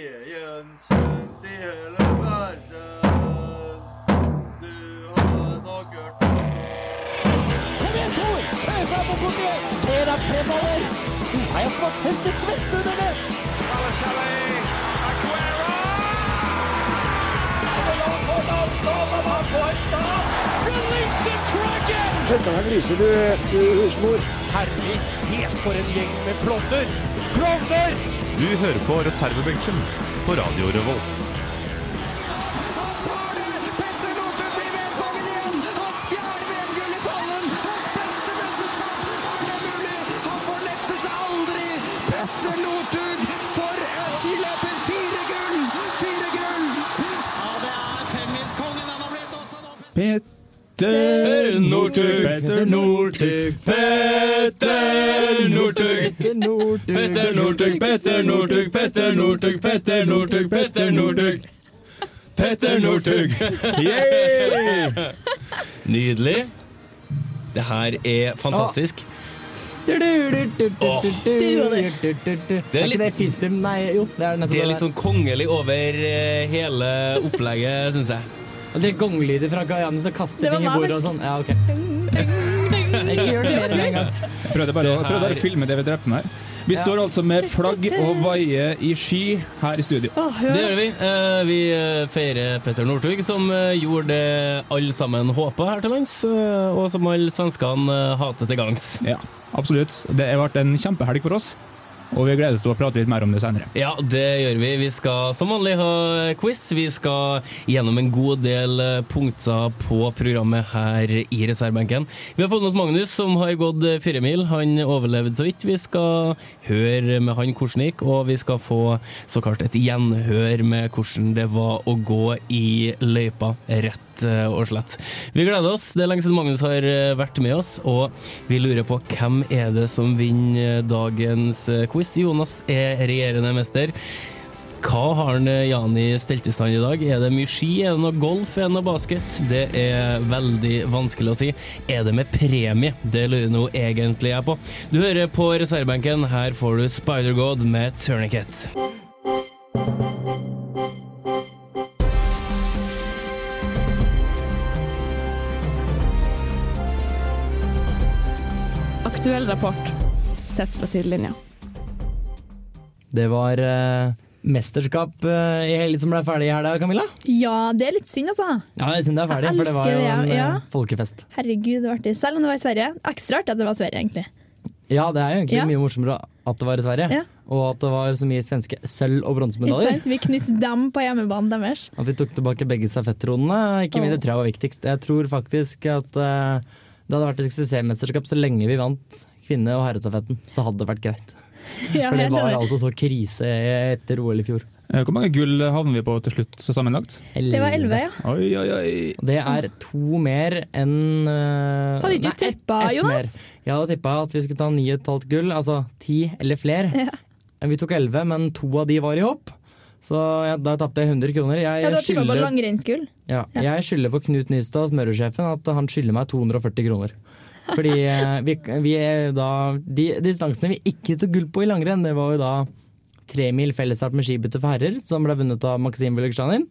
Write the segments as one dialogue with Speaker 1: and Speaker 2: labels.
Speaker 1: Veden kjent i hele verden. Du har nok hørt om
Speaker 2: Kom igjen, Tor! Kjør fram mot politiet! Se deg fremover! Nei, jeg skal tørke svette under det! Kødda deg griser, du, du husmor.
Speaker 3: Herlighet, for en gjeng med klovner! Klovner!
Speaker 4: Du hører på reservebenken på Radio Revolt.
Speaker 5: Han tar det! Petter Northug blir VM-kongen igjen! Hans fjerde VM-gull i pallen! Hans beste mesterskap! Er det mulig? Han fornekter seg aldri! Petter Northug, for et skiløper! Fire gull! Fire gull!
Speaker 6: Petter
Speaker 7: Northug.
Speaker 6: Petter Northug. Petter Northug. Petter Northug, Petter Northug, Petter Northug, Petter Northug, Petter Northug. Petter Northug. Yeah! Nydelig. Det her er fantastisk. Åh.
Speaker 7: Det er
Speaker 6: ikke
Speaker 7: litt,
Speaker 3: Fisum, nei, jo, det er nettopp
Speaker 7: det er litt sånn kongelig over eh, hele opplegget, syns jeg.
Speaker 3: Og det er gonglyder fra Guyana som kaster
Speaker 8: Det var
Speaker 3: ting i bordet og sånn.
Speaker 8: magisk.
Speaker 3: Ja, ok. Ikke gjør det mer enn en gang.
Speaker 6: Jeg prøvde bare, å-
Speaker 7: Det her-
Speaker 6: prøvde bare å filme det vi dreper med her. Vi står altså med flagg og vaie i sky her i studio.
Speaker 7: Det gjør vi. Eh, Vi eh, feirer Petter Northug, som eh, gjorde det alle sammen håpa her til lands, eh, og som alle svenskene eh, hater til gangs.
Speaker 6: Ja, absolutt. Det har vært en kjempehelg for oss, og vi gleder oss til å prate litt mer om det senere.
Speaker 7: Ja, det gjør vi. Vi skal som vanlig ha quiz. Vi skal gjennom en god del eh, punkter på programmet her i reservebenken. Vi har fått med oss Magnus, som har gått eh, fire mil. Han overlevde så vidt. Vi skal høre med han hvordan det gikk, og vi skal få såkalt et gjenhør med hvordan det var å gå i løypa, rett eh, og slett. Vi gleder oss. Det er lenge siden Magnus har eh, vært med oss, og vi lurer på hvem er det som vinner dagens eh, quiz. Jonas er regjerende mester. Hva har han, eh, Jani stelt i stand i dag? Er det mye ski? Er det noe golf? Er det noe basket? Det er veldig vanskelig å si. Er det med premie? Det lurer nå egentlig jeg på. Du hører på reservebenken. Her får du Spider-God med Turniket.
Speaker 8: Aktuell rapport sett fra sidelinja.
Speaker 3: Det var eh, mesterskap eh, i helg som ble ferdig her da, Camilla.
Speaker 8: Ja, det er litt synd, altså.
Speaker 3: Ja, jeg synes det er ferdig,
Speaker 8: Jeg
Speaker 3: for det var
Speaker 8: elsker
Speaker 3: jo en
Speaker 8: det, ja.
Speaker 3: eh, folkefest.
Speaker 8: Herregud, det var artig. Selv om det var i Sverige. Ekstra artig at det var i Sverige, egentlig.
Speaker 3: Ja, det er jo egentlig
Speaker 8: Ja.
Speaker 3: mye morsommere at det var i Sverige,
Speaker 8: Ja.
Speaker 3: og at det var så mye svenske sølv- og
Speaker 8: Ikke
Speaker 3: bronsemedaljer.
Speaker 8: sant? Vi knuste dem på hjemmebanen deres.
Speaker 3: At vi tok tilbake begge stafettronene, ikke minst, det tror jeg var viktigst. Jeg tror faktisk at eh, det hadde vært et suksessmesterskap så lenge vi vant kvinne- og herrestafetten, så hadde det vært greit.
Speaker 8: Ja,
Speaker 3: For det
Speaker 8: jeg
Speaker 3: var
Speaker 8: skjønner.
Speaker 3: altså så krise etter OL i fjor.
Speaker 6: Eh, Hvor mange gull havner vi på til slutt så sammenlagt?
Speaker 8: Det var elleve, ja.
Speaker 6: Oi, oi, oi.
Speaker 3: Og Det er to mer enn eh,
Speaker 8: Hadde ikke du
Speaker 3: nei, ett-
Speaker 8: tippa,
Speaker 3: ett
Speaker 8: Jonas?
Speaker 3: mer. Jeg hadde tippa at vi skulle ta ni og et halvt gull, altså ti eller flere. Vi tok elleve, men to av de var i hopp. Så jeg, da tapte jeg 100 kroner. Jeg
Speaker 8: Ja, du har tippa på
Speaker 3: skylder-
Speaker 8: langrennsgull.
Speaker 3: Ja, jeg skylder på Knut Nystad, smøresjefen, at han skylder meg 240 kroner. Fordi eh, vi, vi er da De distansene vi ikke tok gull på i langrenn, det var jo da tremil fellesstart med skibytte for herrer, som ble vunnet av Maxim Veliksjanin.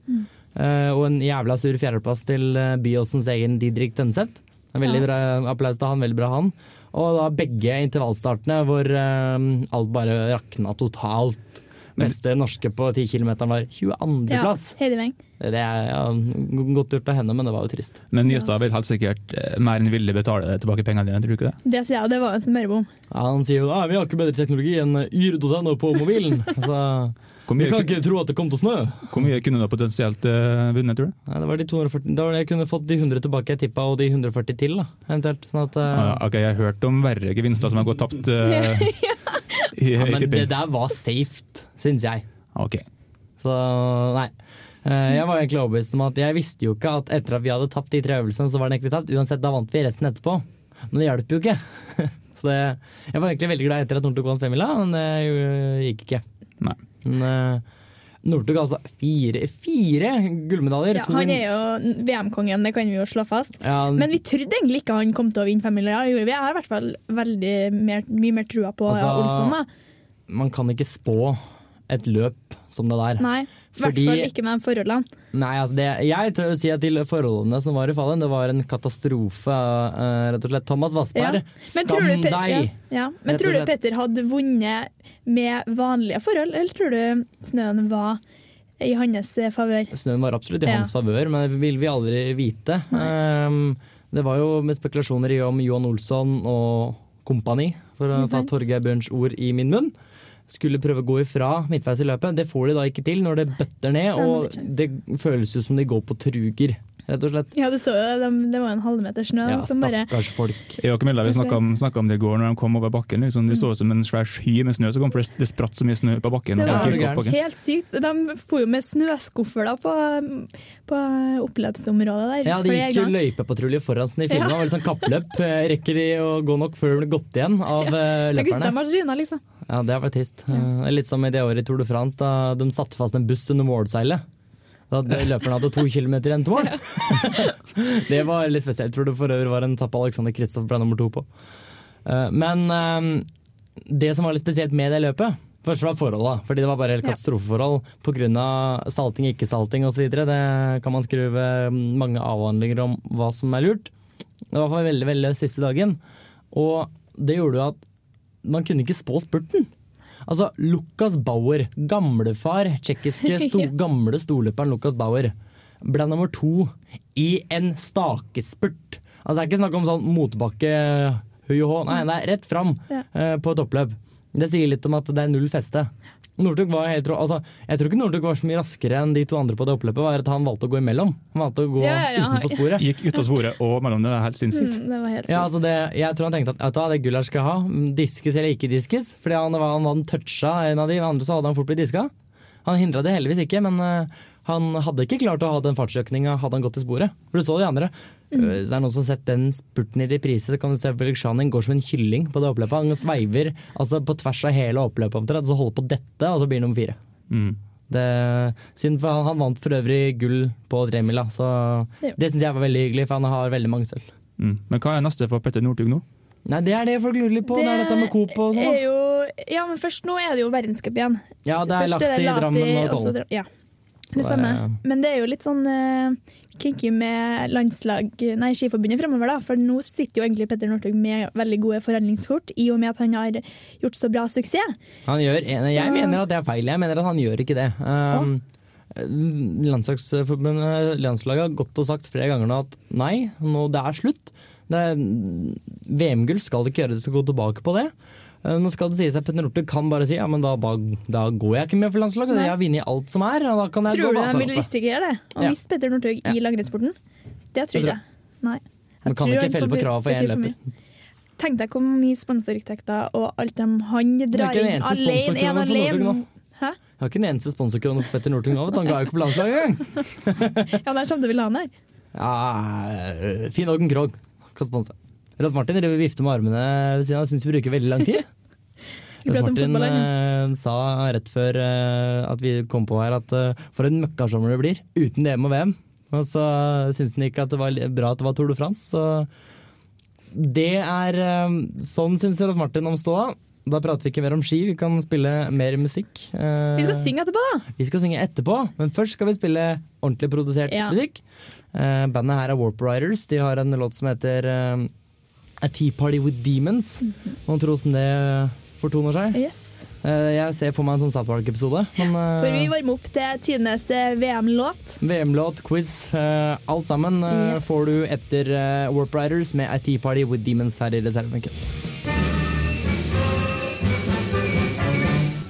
Speaker 3: Eh, og en jævla sur fjerdeplass til eh, Byåsens egen Didrik Tønseth. En Veldig
Speaker 8: Ja.
Speaker 3: bra applaus til han, veldig bra han. Og da begge intervallstartene hvor eh, alt bare rakna totalt. Beste norske på 10 km var 22.-plass.
Speaker 8: Heidi Weng.
Speaker 3: Det er ja, godt gjort av henne, men det var jo trist.
Speaker 6: Men Nystad vil helt sikkert eh, mer enn villig betale tilbake pengene dine, tror du ikke det?
Speaker 8: Det sier jeg, og det var jo en smørebom.
Speaker 3: Ja, han sier jo at vi har ikke bedre teknologi enn yr.no på mobilen. Så
Speaker 6: Hvor mye,
Speaker 3: ikke tro at det kom til å snø.
Speaker 6: hvor mye kunne du ha potensielt eh, vunnet, tror du?
Speaker 3: Nei, det var de 240, da var det jeg kunne fått de 100 tilbake jeg tippa, og de 140 til, da, eventuelt. Sånn at, eh,
Speaker 6: Ah, ja, ok, jeg har hørt om verre gevinster som har gått tapt eh, i,
Speaker 3: ja,
Speaker 6: i
Speaker 3: men det
Speaker 6: tipping.
Speaker 3: der var safe, syns jeg.
Speaker 6: Ok.
Speaker 3: Så nei. Eh, Jeg var egentlig overbevist om at jeg visste jo ikke at etter at vi hadde tapt de tre øvelsene, så var den egentlig tapt. Uansett, da vant vi resten etterpå. Men det hjalp jo ikke. Så det, jeg var egentlig veldig glad etter at Northug vant femmila, men det øh, gikk ikke.
Speaker 6: Nei.
Speaker 3: Men eh, Northug altså fire, fire gullmedaljer.
Speaker 8: Ja,
Speaker 3: to
Speaker 8: han
Speaker 3: vin-
Speaker 8: er jo VM-kongen, det kan vi jo slå fast.
Speaker 3: Ja,
Speaker 8: Men vi trodde egentlig ikke han kom til å vinne fem milliarder, gjorde vi? Jeg har i hvert fall veldig mer, mye mer trua på ja,
Speaker 3: Altså,
Speaker 8: Olsson, da.
Speaker 3: man kan ikke spå et løp som det der.
Speaker 8: Nei, i hvert
Speaker 3: Fordi-
Speaker 8: fall ikke med de forholdene.
Speaker 3: Nei, altså det, jeg tør å si at de forholdene som var i Fallen, det var en katastrofe, eh, rett og slett. Thomas
Speaker 8: Ja.
Speaker 3: Vassberg,
Speaker 8: Men
Speaker 3: skam
Speaker 8: tror du
Speaker 3: deg!
Speaker 8: Pe- Ja, ja.
Speaker 3: Rett
Speaker 8: Men
Speaker 3: og
Speaker 8: tror du
Speaker 3: slett.
Speaker 8: Petter hadde vunnet med vanlige forhold, eller tror du snøen var i hans eh, favør?
Speaker 3: Snøen var absolutt i
Speaker 8: Ja.
Speaker 3: hans favør, men det vil vi aldri vite. Ehm, det var jo med spekulasjoner i om Johan Olsson og kompani, for å
Speaker 8: Ikke
Speaker 3: ta
Speaker 8: sant?
Speaker 3: Torgeir Bjørns ord i min munn, skulle prøve å gå ifra midtveis i løpet. Det får de da ikke til når det bøtter ned,
Speaker 8: men
Speaker 3: og
Speaker 8: det kjennes.
Speaker 3: det føles jo som de går på truger, rett og slett.
Speaker 8: Ja, du så jo det, de- det var jo en halvmeter snø
Speaker 3: Ja,
Speaker 8: som bare
Speaker 3: stakkars folk.
Speaker 6: Jeg og Camilla vi snakka om, snakket om det i går når de kom over bakken. Liksom, det så ut som en svær sky med snø som kom, for det, det spratt så mye snø på bakken.
Speaker 8: Det
Speaker 6: og
Speaker 8: var
Speaker 6: folk gikk opp bakken.
Speaker 8: Helt sykt. De for jo med snøskuffer da, på, på oppløpsområdet der.
Speaker 3: Ja, De
Speaker 8: flere
Speaker 3: gikk jo
Speaker 8: ganger.
Speaker 3: løypepatrulje foran sånn i filmen.
Speaker 8: Ja.
Speaker 3: Det var litt sånn kappløp. Eh, Rekker de å gå nok før de blir gått igjen av eh,
Speaker 8: Tenk hvis de
Speaker 3: løperne?
Speaker 8: hadde skynet, liksom.
Speaker 3: Ja, det var trist. Eh, Litt som i det året i Tour de France, da de satte fast en buss under målseilet. Da hadde løperne hadde to kilometer igjen til mål. det var litt spesielt. Tror det for øvrig var en etappe Alexander Kristoff ble nummer to på. Eh, Men eh, det som var litt spesielt med det løpet Først var forholda, fordi det var bare helt
Speaker 8: Ja.
Speaker 3: katastrofeforhold pga. salting, ikke-salting osv. Det kan man skrive eh, mange avhandlinger om hva som er lurt. Det var for veldig, veldig siste dagen. Og det gjorde jo at man kunne ikke spå spurten. Altså, Lukas Bauer, gamlefar, tsjekkiske sto, gamle storløperen Lukas Bauer, ble nummer to i en stakespurt. Altså, det er ikke snakk om sånn motbakke, hui og hå. Nei, det er rett fram
Speaker 8: Ja.
Speaker 3: eh, på et oppløp. Det sier litt om at det er null feste. Northug var helt rå. Altså, jeg tror ikke Northug var så mye raskere enn de to andre på det oppløpet. var at Han valgte å gå imellom. Han valgte å gå
Speaker 8: Ja, ja, ja.
Speaker 3: utenfor sporet.
Speaker 6: Gikk ut av sporet og mellom det. Det er helt sinnssykt.
Speaker 8: Mm, det var helt sykt.
Speaker 3: Ja, altså det, jeg tror han tenkte at vet du hva, det gullet her skal jeg ha, mm, diskes eller ikke diskes. Fordi han, var- han, han toucha en av de, andre så hadde han fort blitt diska. Han hindra det heldigvis ikke, men eh, han hadde ikke klart å ha den fartsøkninga hadde han gått i sporet. For du så de andre. Eh, Hvis det er noen som har sett den spurten i reprise, så kan du se Felix Schanin går som en kylling på det oppløpet. Han sveiver altså, på tvers av hele oppløpet omtrent, så holder på dette, og så blir han nummer fire.
Speaker 6: Mm.
Speaker 3: Det, siden for han, han vant for øvrig gull på tremila, så
Speaker 8: Ja.
Speaker 3: det syns jeg var veldig hyggelig, for han har veldig mange sølv.
Speaker 6: Mm. Men hva er neste for Petter Northug nå?
Speaker 3: Nei, det er det folk lurer litt på. Det, er dette med Coop og sånn.
Speaker 8: er
Speaker 3: da.
Speaker 8: jo, ja, men først nå er det jo verdenscup igjen.
Speaker 3: Ja, det er
Speaker 8: Først
Speaker 3: lagt i
Speaker 8: Lati,
Speaker 3: Drammen og
Speaker 8: så
Speaker 3: Kollen.
Speaker 8: Dra- Ja,
Speaker 3: det
Speaker 8: det
Speaker 3: er-
Speaker 8: samme. Men det er jo litt sånn uh, kinky med landslag, nei, Skiforbundet fremover, da. For nå sitter jo egentlig Petter Northug med veldig gode forhandlingskort, i og med at han har gjort så bra suksess.
Speaker 3: Han gjør, jeg
Speaker 8: Så-
Speaker 3: mener at det er feil. Jeg mener at han gjør ikke det. Um, Landslagsforbundet, landslaget har gått og sagt flere ganger nå at nei, nå det er slutt. Det er- VM-gull skal det ikke gjøre, det skal gå tilbake på det. Uh, Nå skal det sies at Petter Northug kan bare si ja, men da, da, da går jeg ikke med for landslaget.
Speaker 8: Nei.
Speaker 3: Jeg har vunnet alt som er. og Da kan jeg gå
Speaker 8: Tror du
Speaker 3: Vasaloppet.
Speaker 8: de vil risikere det? Å
Speaker 3: Ja.
Speaker 8: miste Petter Northug i langrennssporten? Det tror
Speaker 3: Jeg tror-
Speaker 8: jeg. Nei. Jeg
Speaker 3: Man kan
Speaker 8: tror
Speaker 3: ikke
Speaker 8: han
Speaker 3: felle på
Speaker 8: får-
Speaker 3: kravet for
Speaker 8: betyr
Speaker 3: én
Speaker 8: mye.
Speaker 3: løper.
Speaker 8: Tenk deg hvor mye sponsorinntekter og alt de han
Speaker 3: Det er
Speaker 8: drar
Speaker 3: ikke en
Speaker 8: inn
Speaker 3: eneste
Speaker 8: alene. En
Speaker 3: sponsorkrone for Northug
Speaker 8: alene.
Speaker 3: nå.
Speaker 8: Hæ?
Speaker 3: Jeg har ikke en eneste sponsorkrone på Petter Northug nå. vet du. Han ga jo ikke på landslaget engang.
Speaker 8: Ja, der kommer du vil ha han her.
Speaker 3: Ja, Finn Ågen eh, Krogh kan sponse. Rolf Martin driver og vifter med armene ved siden av. Syns vi bruker veldig lang tid.
Speaker 8: Vi prater
Speaker 3: Rolf
Speaker 8: om
Speaker 3: Martin
Speaker 8: fotball,
Speaker 3: eh, sa rett før eh, at vi kom på her at eh, for en møkkasommer det blir uten EM og VM. Og så syns han ikke at det var li- bra at det var Tour de France. Så det er eh, Sånn syns Rolf Martin om ståa. Da prater vi ikke mer om ski, vi kan spille mer musikk. Eh,
Speaker 8: Vi skal synge etterpå, da!
Speaker 3: vi skal synge etterpå, men først skal vi spille ordentlig produsert
Speaker 8: Ja.
Speaker 3: musikk. Eh, bandet her er Warp Riders. De har en låt som heter eh, A Tea Party With Demons.
Speaker 8: Mhm.
Speaker 3: Noen tror hvordan det fortoner seg.
Speaker 8: Yes.
Speaker 3: Eh, jeg ser for meg en sånn South Park-episode. Men
Speaker 8: For vi
Speaker 3: eh,
Speaker 8: varmer opp til tidenes eh, VM-låt.
Speaker 3: VM-låt, quiz, eh, alt sammen eh,
Speaker 8: Yes.
Speaker 3: får du etter eh, Warp Riders med A Tea Party With Demons her i reservebenken.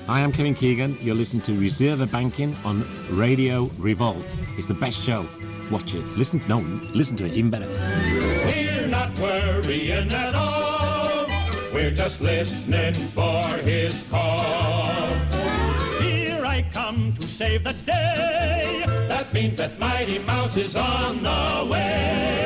Speaker 9: I am Kevin Keegan. You're listening to Reserve Banking on Radio Revolt. It's the best show. Watch it. Listen, no, listen to it, even better.
Speaker 10: We're not worrying at all. We're just listening for his call. Here I come to save the day. That means that Mighty Mouse is on the way.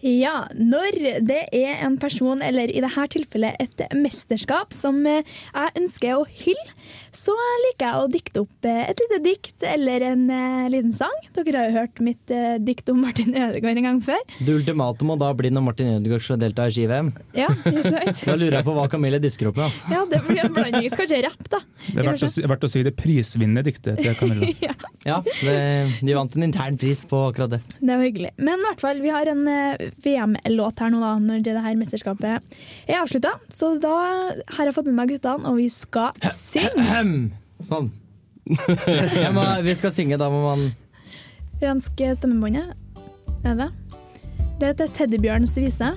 Speaker 8: Ja, når det er en person, eller i dette tilfellet et mesterskap, som eh, jeg ønsker å hylle, så liker jeg å dikte opp eh, et lite dikt eller en eh, liten sang. Dere har jo hørt mitt eh, dikt om Martin Ødegaard en gang før.
Speaker 3: Det ultimate må da bli når Martin Ødegaard skal delta i ski-VM.
Speaker 8: Ja, ikke sant?
Speaker 3: Da lurer jeg på hva Camille disker opp med. Altså.
Speaker 8: Ja, det blir en blanding. Jeg skal ikke rappe, da.
Speaker 6: Det er verdt å, si, verdt å si det prisvinnende diktet til Camilla.
Speaker 8: ja.
Speaker 3: Ja, det, De vant en intern pris på akkurat det.
Speaker 8: Det var hyggelig. Men i hvert fall, vi har en eh, VM-låt her nå, da, når det her mesterskapet er avslutta. Så da har jeg fått med meg guttene, og vi skal synge.
Speaker 3: Ahem. Sånn. Jeg må, vi skal synge, da må man
Speaker 8: Fransk stemmebåndet. Er det? Det heter Teddybjørns vise.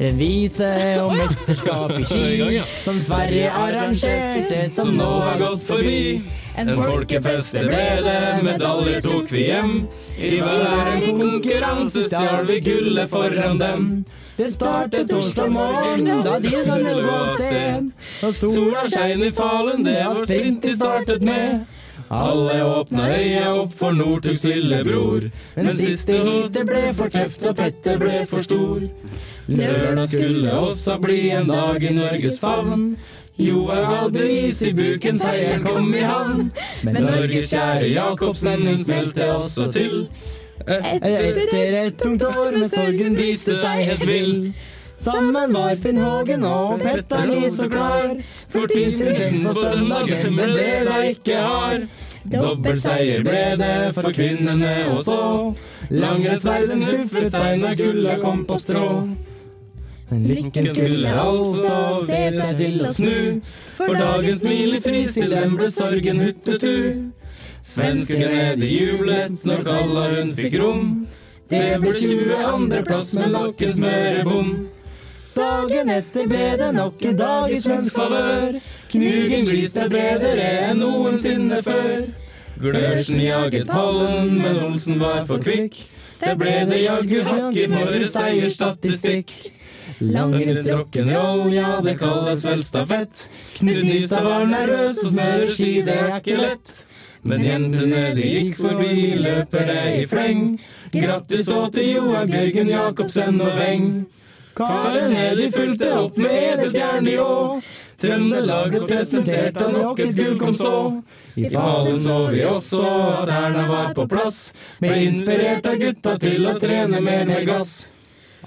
Speaker 3: En vise om mesterskap i
Speaker 7: Så er vi i gang,
Speaker 3: ski
Speaker 7: ja.
Speaker 3: som Sverige arrangerte, som nå har gått forbi.
Speaker 7: En folkefest det ble det, medaljer tok vi hjem. I hver en konkurranse stjal vi gullet foran dem.
Speaker 3: Det startet torsdag morgen da de skulle gå av sted. Da
Speaker 7: Sola skein i Falun, det var sprint de startet med. Alle åpna øya opp for Northugs lillebror. Men siste heatet ble for tøft, og Petter ble for stor. Lørdag skulle også bli en dag i Norges favn. Johaug hadde is i buken, seieren kom i havn. Men Norges kjære Jacobsen, hun smelte også til.
Speaker 3: Etter et tungt år med sorgen viste seg helt vill. Sammen var Finn Hågen og Petter Lie så klar.
Speaker 7: For tidsvinsten på søndagen ble det de ikke har. Dobbel seier ble det for kvinnene og så. Langrennsverden skuffet seg når kulda kom på strå.
Speaker 3: Lykken
Speaker 7: Lykken skulle altså se seg til å snu, for dagens smil i fristil den ble sorgen huttetu. Svenskene de jublet når kalla hun fikk rom. Det ble 22. plass med nok en smørebom.
Speaker 3: Dagen etter ble det nok en dag i svensk favør.
Speaker 7: Knugen gliste bedre enn noensinne før. Glørsen jaget pallen, men Olsen var for kvikk. Der ble det jaggu hakk i vår seierstatistikk. Langrenns rock'n'roll, ja, det kalles vel stafett. Knut Nystad var nervøs og smører ski, det er ikke lett. Men jentene de gikk forbi, løper det i fleng. Grattis så til Joar Bjørgen Jacobsen og Weng. Karen Heli fulgte opp med edelstjerne i å. Trøndelag ble presentert av nok et gull kom så. I Falun så vi også at Erna var på plass. Ble inspirert av gutta til å trene mer med gass.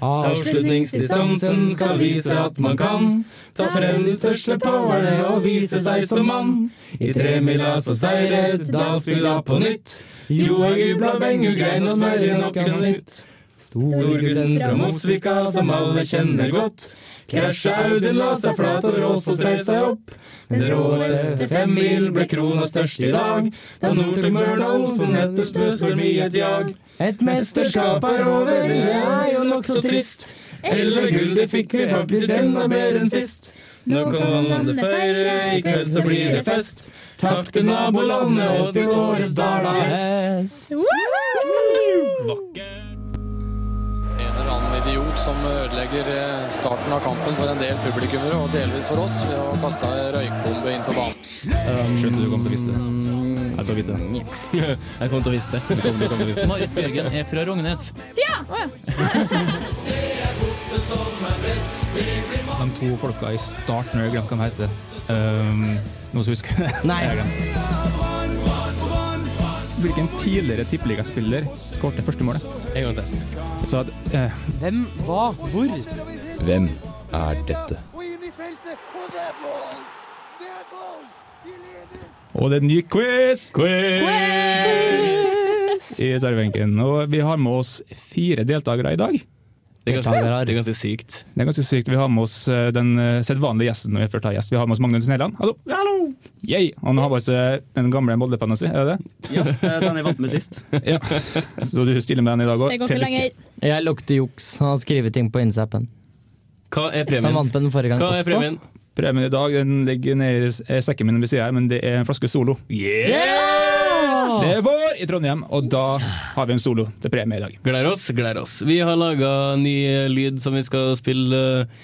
Speaker 7: Avslutningsdistansen skal vise at man kan ta frem de største powerne og vise seg som mann. I tremila så seiret, da spilla på nytt. Johaug jubla, Wengu grein og Sverre nok en snytt. Storgutten fra Mosvika som alle kjenner godt. Krasja Audun la seg flat og Råsås reiste seg opp. Den råeste femmil ble krona størst i dag. Da Northug Mørna Olsen etter Støstorm i et jag.
Speaker 3: Et
Speaker 7: Mesterskapet er over, det er jo nokså trist. Elleve gull, det fikk vi faktisk enda mer enn sist. Nå kan landet feire, i kveld så blir det fest. Takk til nabolandet og til årets Dala Hest.
Speaker 11: En eller annen idiot som ødelegger eh, starten av kampen for en del publikummere, og delvis for oss, ved å kaste en røykbombe inn på banen.
Speaker 4: Skjønte du kom til å vite det. Jeg kom til å vite det. Jeg kom til å vite det.
Speaker 12: Marit Bjørgen er fra Rognes.
Speaker 8: Ja! Å, ja.
Speaker 6: De to folka i starten, jeg glemte hva de heter. Um, noen som husker det?
Speaker 3: Nei.
Speaker 6: Jeg har glemt. Hvilken tidligere tippeligaspiller skåret det første målet?
Speaker 7: En gang til.
Speaker 6: Jeg sa at eh,
Speaker 3: Hvem, hva, hvor?
Speaker 13: Hvem er dette?
Speaker 6: Og det er en ny quiz!
Speaker 7: Quiz!
Speaker 6: I servebenken. Og vi har med oss fire deltakere i dag.
Speaker 7: Det er ganske, det er ganske sykt.
Speaker 6: Det er ganske sykt. Vi har med oss eh, den eh, sedvanlige gjesten når vi først har gjest. Vi har med oss Magnus Nelland. Hallo! Hallo! Yay. Han har bare seg den gamle Molde-penna si, er det det?
Speaker 14: Ja, eh, den jeg vant med sist.
Speaker 6: Ja. Så du stiller med den i dag òg?
Speaker 3: Jeg lukter juks. Han har skrevet ting på Insappen.
Speaker 7: Hva er
Speaker 3: Så han vant på den forrige gang også.
Speaker 6: Premien i dag den ligger nede i s- eh, sekken min ved siden her, men det er en flaske Solo. Det er vår i Trondheim, og da har vi en Solo til premie i dag.
Speaker 7: Gleder oss, gleder oss. Vi har laga ny lyd som vi skal spille eh,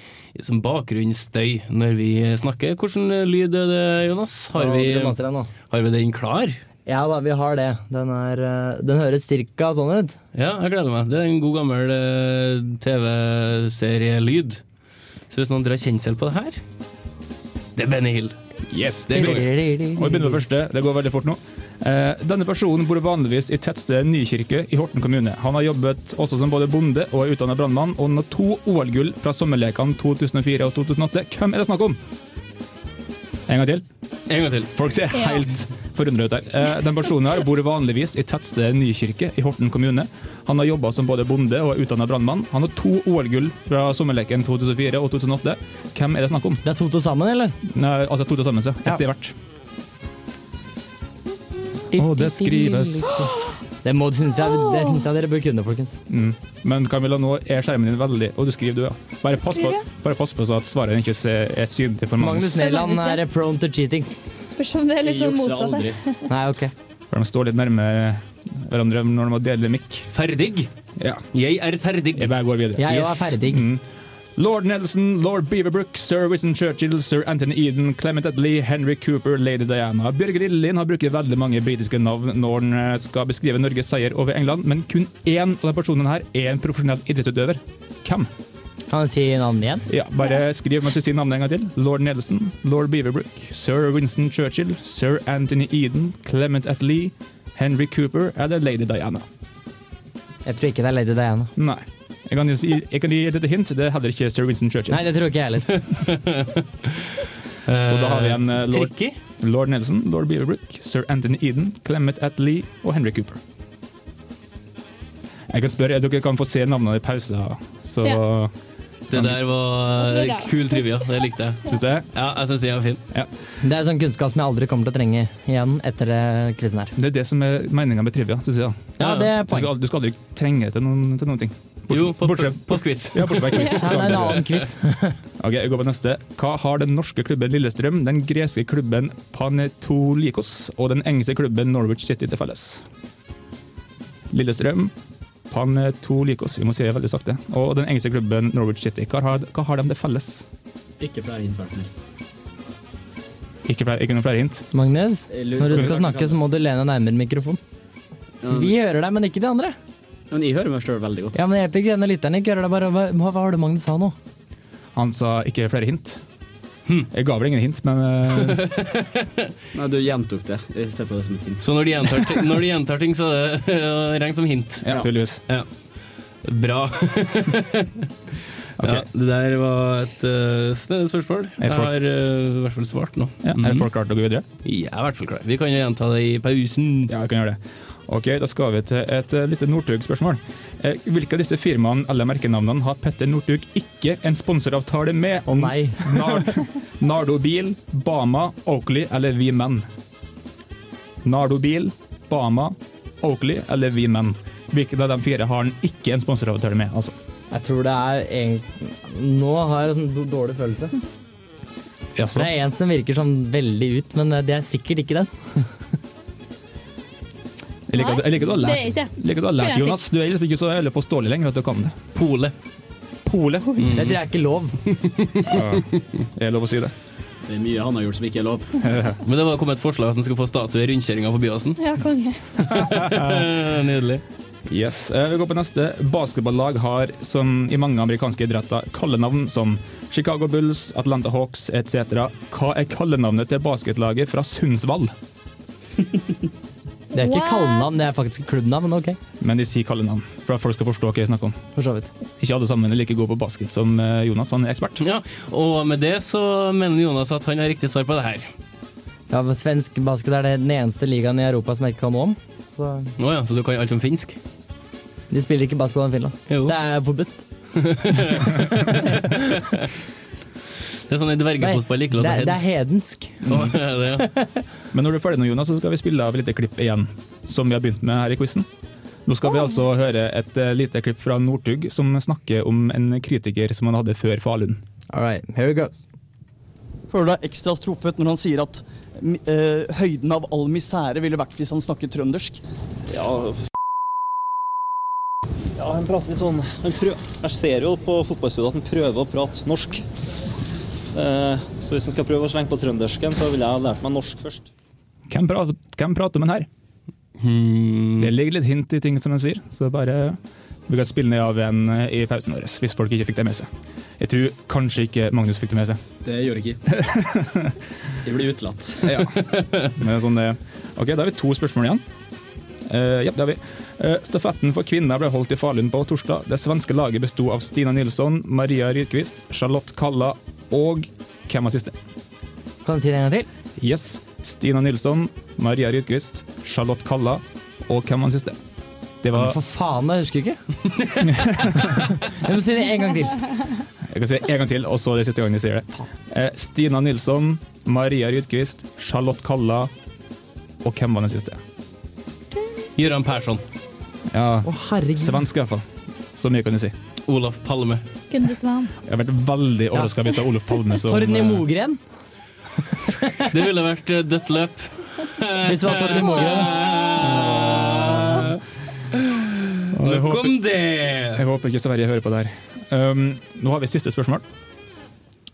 Speaker 7: som bakgrunnsstøy når vi snakker. Hvordan eh, lyd er det, Jonas? Har
Speaker 3: Nå
Speaker 7: vi,
Speaker 3: glemmer jeg den nå.
Speaker 7: har vi den klar?
Speaker 3: Ja da, vi har det. Den, er, eh, den høres cirka sånn ut.
Speaker 7: Ja, jeg gleder meg. Det er en god gammel eh, TV-serielyd. Så hvis noen drar kjensel på det her Det er Benny Hill.
Speaker 6: Yes, det går. Og vi begynner med første. Det går veldig fort nå. Eh, Denne personen bor vanligvis i tettstedet Nykirke i Horten kommune. Han har jobbet også som både bonde og er utdannet brannmann, og han har to OL-gull fra sommerlekene 2004 og 2008. Hvem er det snakk om? En gang til.
Speaker 7: En gang til.
Speaker 6: Folk ser
Speaker 7: Ja.
Speaker 6: helt forundret ut der. Eh, Den personen her bor vanligvis i tettstedet Nykirke i Horten kommune. Han har jobba som både bonde og er utdannet brannmann. Han har to OL-gull fra sommerleken 2004 og 2008. Hvem er det snakk om?
Speaker 3: Det er to til sammen, eller?
Speaker 6: Nei, altså to til sammen, ja. Ett i hvert. Og det skrives.
Speaker 3: Det må, synes jeg, det synes jeg dere bør kunne, folkens.
Speaker 6: Mm. Men Camilla, nå er skjermen din veldig Og du skriver, du, ja. Bare pass på,
Speaker 8: Skriver jeg?
Speaker 6: bare pass på så at svaret ikke ser- er synlig for
Speaker 3: Magnus Nelland er prone to cheating.
Speaker 8: Spørs om det er litt sånn motsatt her.
Speaker 3: Nei, ok.
Speaker 6: For de står litt nærme hverandre når de må dele mikk.
Speaker 7: Ferdig?
Speaker 6: Ja.
Speaker 7: Jeg er ferdig.
Speaker 6: Jeg bare går videre.
Speaker 3: Jeg er også ferdig.
Speaker 6: Mm. Lord Nelson, lord Beaverbrook, sir Winston Churchill, sir Anthony Eden, Clement Attlee, Henry Cooper, lady Diana. Bjørge Lillien har brukt veldig mange britiske navn når han eh, skal beskrive Norges seier over England, men kun én av de personene her er en profesjonell idrettsutøver. Hvem?
Speaker 3: Kan du si navnet igjen?
Speaker 6: Ja, bare skriv mens du sier navnet en gang til. Lord Nelson, lord Beaverbrook, sir Winston Churchill, sir Anthony Eden, Clement Attlee, Henry Cooper eller lady Diana.
Speaker 3: Jeg tror ikke det er Lady Diana.
Speaker 6: Nei. Jeg kan, gi, jeg kan gi et lite hint. Det er heller ikke sir Winston Churchill.
Speaker 3: Nei, det tror ikke jeg heller.
Speaker 6: Så da har vi en eh, lord,
Speaker 7: Tricky?
Speaker 6: lord Nelson, lord Beaverbrook, sir Anthony Eden, Clement Attlee og Henry Cooper. Jeg kan spørre, Dere kan få se navnene i pausen. Så
Speaker 7: Ja. Det der var eh, kul trivia. Det likte jeg.
Speaker 6: Syns du det?
Speaker 7: Ja, jeg syns den var fin.
Speaker 3: Det er sånn kunnskap som jeg aldri kommer til å trenge igjen etter eh, quizen her.
Speaker 6: Det er det som er meninga med trivia. Synes jeg. da.
Speaker 3: Ja, det er
Speaker 6: Du skal,
Speaker 3: poeng.
Speaker 6: aldri- du skal aldri trenge til noen, til noen ting.
Speaker 7: Jo, på, på,
Speaker 6: bortsett-
Speaker 7: på quiz.
Speaker 6: Ja, bortsett fra quiz.
Speaker 3: Ja, det er en annen quiz.
Speaker 6: Ok, jeg går på neste. Hva har den norske klubben Lillestrøm, den greske klubben Panetolikos og den engelske klubben Norwich City til felles? Lillestrøm, Panetolikos, vi må si det veldig sakte, og den engelske klubben Norwich City. Hva har, hva har de til felles?
Speaker 12: Ikke flere innfallsmidler.
Speaker 6: Ikke, flere, ikke noen flere hint?
Speaker 3: Magnus, når du skal snakke, så må du lene deg nærmere mikrofonen. Vi hører deg, men ikke de andre.
Speaker 12: Men jeg hører meg sjøl veldig godt.
Speaker 3: Ja, men det hjelper ikke denne lytteren ikke hører deg bare. Hva, hva var det Magnus sa nå?
Speaker 6: Han sa ikke flere hint. Jeg ga vel ingen hint, men eh,
Speaker 12: Nei, du gjentok det. Jeg ser på det som et hint.
Speaker 7: Så når de gjentar, ti- når de gjentar ting, så er det regn som hint.
Speaker 6: ja, tydeligvis.
Speaker 7: Ja. Bra. Ja, det der var et uh, snedig spørsmål.
Speaker 6: Er
Speaker 7: Jeg
Speaker 6: folk-
Speaker 7: har eh, i hvert fall svart nå.
Speaker 6: Ja,
Speaker 7: Mhm.
Speaker 6: Er folk klare til å gå videre?
Speaker 7: Jeg er i hvert fall klar. Vi kan jo gjenta det i pausen.
Speaker 6: Ja, jeg kan gjøre det. Ok, Da skal vi til et eh, lite Northug-spørsmål. Eh, Hvilke av disse firmaene eller merkenavnene har Petter Northug ikke en sponsoravtale med?
Speaker 3: Å nei.
Speaker 6: Nar Nardo Bil, Bama, Oakley eller We Men? Nardo Bil, Bama, Oakley eller We Men? Hvilken av de fire har han ikke en sponsoravtale med? altså?
Speaker 3: Jeg tror det er en... Nå har jeg en sånn d- dårlig følelse.
Speaker 6: Jaså?
Speaker 3: Det er en som virker sånn veldig ut, men det er sikkert ikke den.
Speaker 6: Jeg liker at- jeg liker at du har
Speaker 8: Nei,
Speaker 6: lært,
Speaker 8: det er ikke det.
Speaker 6: jeg liker at du har
Speaker 8: Det er
Speaker 6: lært
Speaker 8: jeg
Speaker 6: Jonas. Du er liksom ikke så jævlig påståelig lenger at du kan det.
Speaker 7: Pole.
Speaker 6: Pole.
Speaker 8: Mm.
Speaker 3: Det tror jeg er ikke lov.
Speaker 6: Er det lov å si det?
Speaker 12: Det er mye han har gjort som ikke er lov.
Speaker 7: Men det var kommet et forslag at han skulle få statue i rundkjøringa på Byåsen.
Speaker 8: Ja, konge.
Speaker 7: Nydelig.
Speaker 6: Yes, eh, Vi går på neste. Basketballag har, som i mange amerikanske idretter, kallenavn som Chicago Bulls, Atlanta Hawks etc. Hva er kallenavnet til basketlaget fra Sundsvall?
Speaker 3: Det er ikke
Speaker 8: What?
Speaker 3: kallenavn, det er faktisk klubbnavn, men ok.
Speaker 6: Men de sier kallenavn, for at folk skal forstå hva jeg snakker om.
Speaker 3: For så vidt.
Speaker 6: Ikke alle sammen er like gode på basket som eh, Jonas, han er ekspert.
Speaker 7: Ja, og med det så mener Jonas at han har riktig svar på det her.
Speaker 3: Ja, for Svensk basket er det den eneste ligaen i Europa som jeg ikke kan noe om. Så
Speaker 7: Å ja, så du kan alt om finsk?
Speaker 3: de spiller ikke basketball i Finland.
Speaker 7: Jo.
Speaker 3: Det er forbudt.
Speaker 7: Det er sånn i dvergefotball ikke lov
Speaker 3: det,
Speaker 7: til
Speaker 3: er- det
Speaker 7: å
Speaker 3: er hedensk.
Speaker 7: hedde.
Speaker 6: Men når du er ferdig nå, Jonas, så skal vi spille av et lite klipp igjen, som vi har begynt med her i quizen. Nå skal vi altså høre et eh, lite klipp fra Northug som snakker om en kritiker som han hadde før Falun.
Speaker 3: All right, here we go.
Speaker 14: Føler du deg ekstra truffet når han sier at mm, eh, høyden av all misere ville vært hvis han snakket trøndersk?
Speaker 15: Ja, f... ja, han prater litt sånn han prøv... Jeg ser jo på fotballstudiet at han prøver å prate norsk. Eh, så hvis han skal prøve å slenge på trøndersken, så ville jeg ha lært meg norsk først.
Speaker 6: Hvem prater, hvem prater om den her? Det ligger litt hint i ting som en sier, så bare Vi kan spille ned av en eh, i pausen vår, hvis folk ikke fikk det med seg. Jeg tror kanskje ikke Magnus fikk det med seg.
Speaker 12: Det gjør jeg ikke. Jeg blir utelatt.
Speaker 6: Ja. Men sånn det. Ok, da har vi to spørsmål igjen. Eh, ja, det har vi. Eh, stafetten for kvinner ble holdt i Falun på torsdag. Det svenske laget besto av Stina Nilsson, Maria Ryrkvist, Charlotte Kalla og Hvem var siste?
Speaker 3: Kan du si det en gang til?
Speaker 6: Yes. Stina Nilsson, Maria Ryrkvist, Charlotte Kalla og hvem var den siste? Det
Speaker 3: Men
Speaker 6: var
Speaker 3: for faen, jeg husker ikke. jeg må si det en gang til.
Speaker 6: Jeg kan si det en gang til, og så det siste gangen jeg sier det. Eh, Stina Nilsson, Maria Rydquist, Charlotte Kalla og hvem var den siste?
Speaker 7: Gøran Persson.
Speaker 6: Ja,
Speaker 3: herregud.
Speaker 6: Svensk, i hvert fall. Så mye kan jeg si.
Speaker 7: Olaf Palme.
Speaker 16: Kunde Svan.
Speaker 6: Jeg har vært veldig overraska hvis det er Olof Palme som
Speaker 3: Torny
Speaker 6: eh,
Speaker 3: Mogren.
Speaker 7: Det ville vært eh, dødt løp.
Speaker 3: Hvis det var Torny Mogren.
Speaker 6: Og jeg
Speaker 7: Nok
Speaker 6: håper-
Speaker 7: om det!
Speaker 6: Jeg håper ikke Sverige hører på det her. Um, nå har vi siste spørsmål.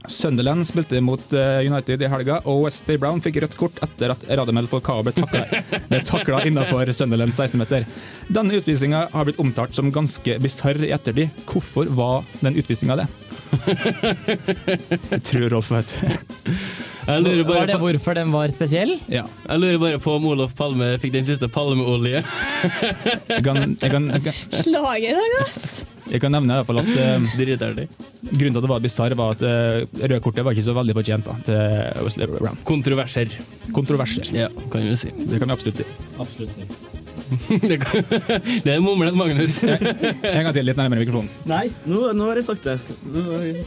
Speaker 6: Sunderland spilte mot eh, United i helga, og Westby Brown fikk rødt kort etter at Radamel Falcao ble takla- ble takla innenfor Sunderland 16-meter. Denne utvisninga har blitt omtalt som ganske bisarr i ettertid. Hvorfor var den utvisninga det? Jeg tror Rolf vet.
Speaker 7: Jeg lurer bare
Speaker 3: Var det
Speaker 7: på-
Speaker 3: hvorfor den var spesiell?
Speaker 7: Jeg lurer bare på om Olof Palme fikk den siste palmeolje.
Speaker 6: Jeg kan, jeg kan, jeg kan
Speaker 16: Slaget i dag, ass!
Speaker 6: Jeg kan nevne i hvert fall at eh, Grunnen til at det var bisarr, var at eh, røde kortet var ikke så veldig fortjent da, til Wesley Brown.
Speaker 7: Kontroverser.
Speaker 6: Kontroverser.
Speaker 7: Ja, kan vi si.
Speaker 6: Det kan vi absolutt si.
Speaker 12: Absolutt.
Speaker 7: det, kan, det er mumlet, Magnus.
Speaker 6: En gang til, litt nærmere mikrofonen.
Speaker 12: Nei, nå, nå har jeg sagt det. Nå har jeg-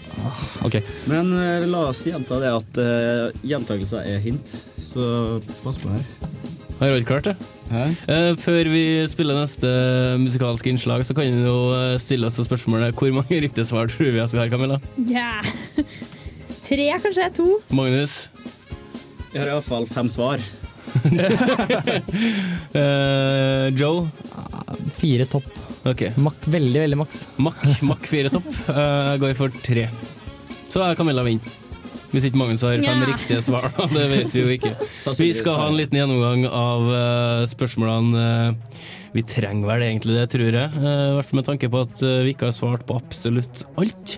Speaker 6: Ok.
Speaker 12: Men eh, la oss gjenta det at uh, gjentakelser er hint, så pass på her.
Speaker 7: Har jeg ikke klart det? Eh, før vi spiller neste musikalske innslag, så kan vi jo eh, stille oss spørsmålet hvor mange riktige svar tror vi at vi har, Camilla?
Speaker 16: Ja. Tre, kanskje? To?
Speaker 7: Magnus?
Speaker 12: Jeg har iallfall fem svar.
Speaker 7: Eh, Joe?
Speaker 3: Fire topp.
Speaker 7: Ok.
Speaker 3: Mak, veldig, veldig maks.
Speaker 7: Mack, Mack fire topp. Eh, går for tre. Så er Camilla vinner. Hvis ikke Magnus har fem
Speaker 12: Ja.
Speaker 7: riktige svar, da. Det vet vi jo ikke. Vi
Speaker 12: Sannsynligvis
Speaker 7: skal ha
Speaker 12: har
Speaker 7: en
Speaker 12: jeg.
Speaker 7: liten gjennomgang av eh, spørsmålene. eh, vi trenger vel egentlig det, tror jeg. Eh, I hvert fall med tanke på at eh, vi ikke har svart på absolutt alt.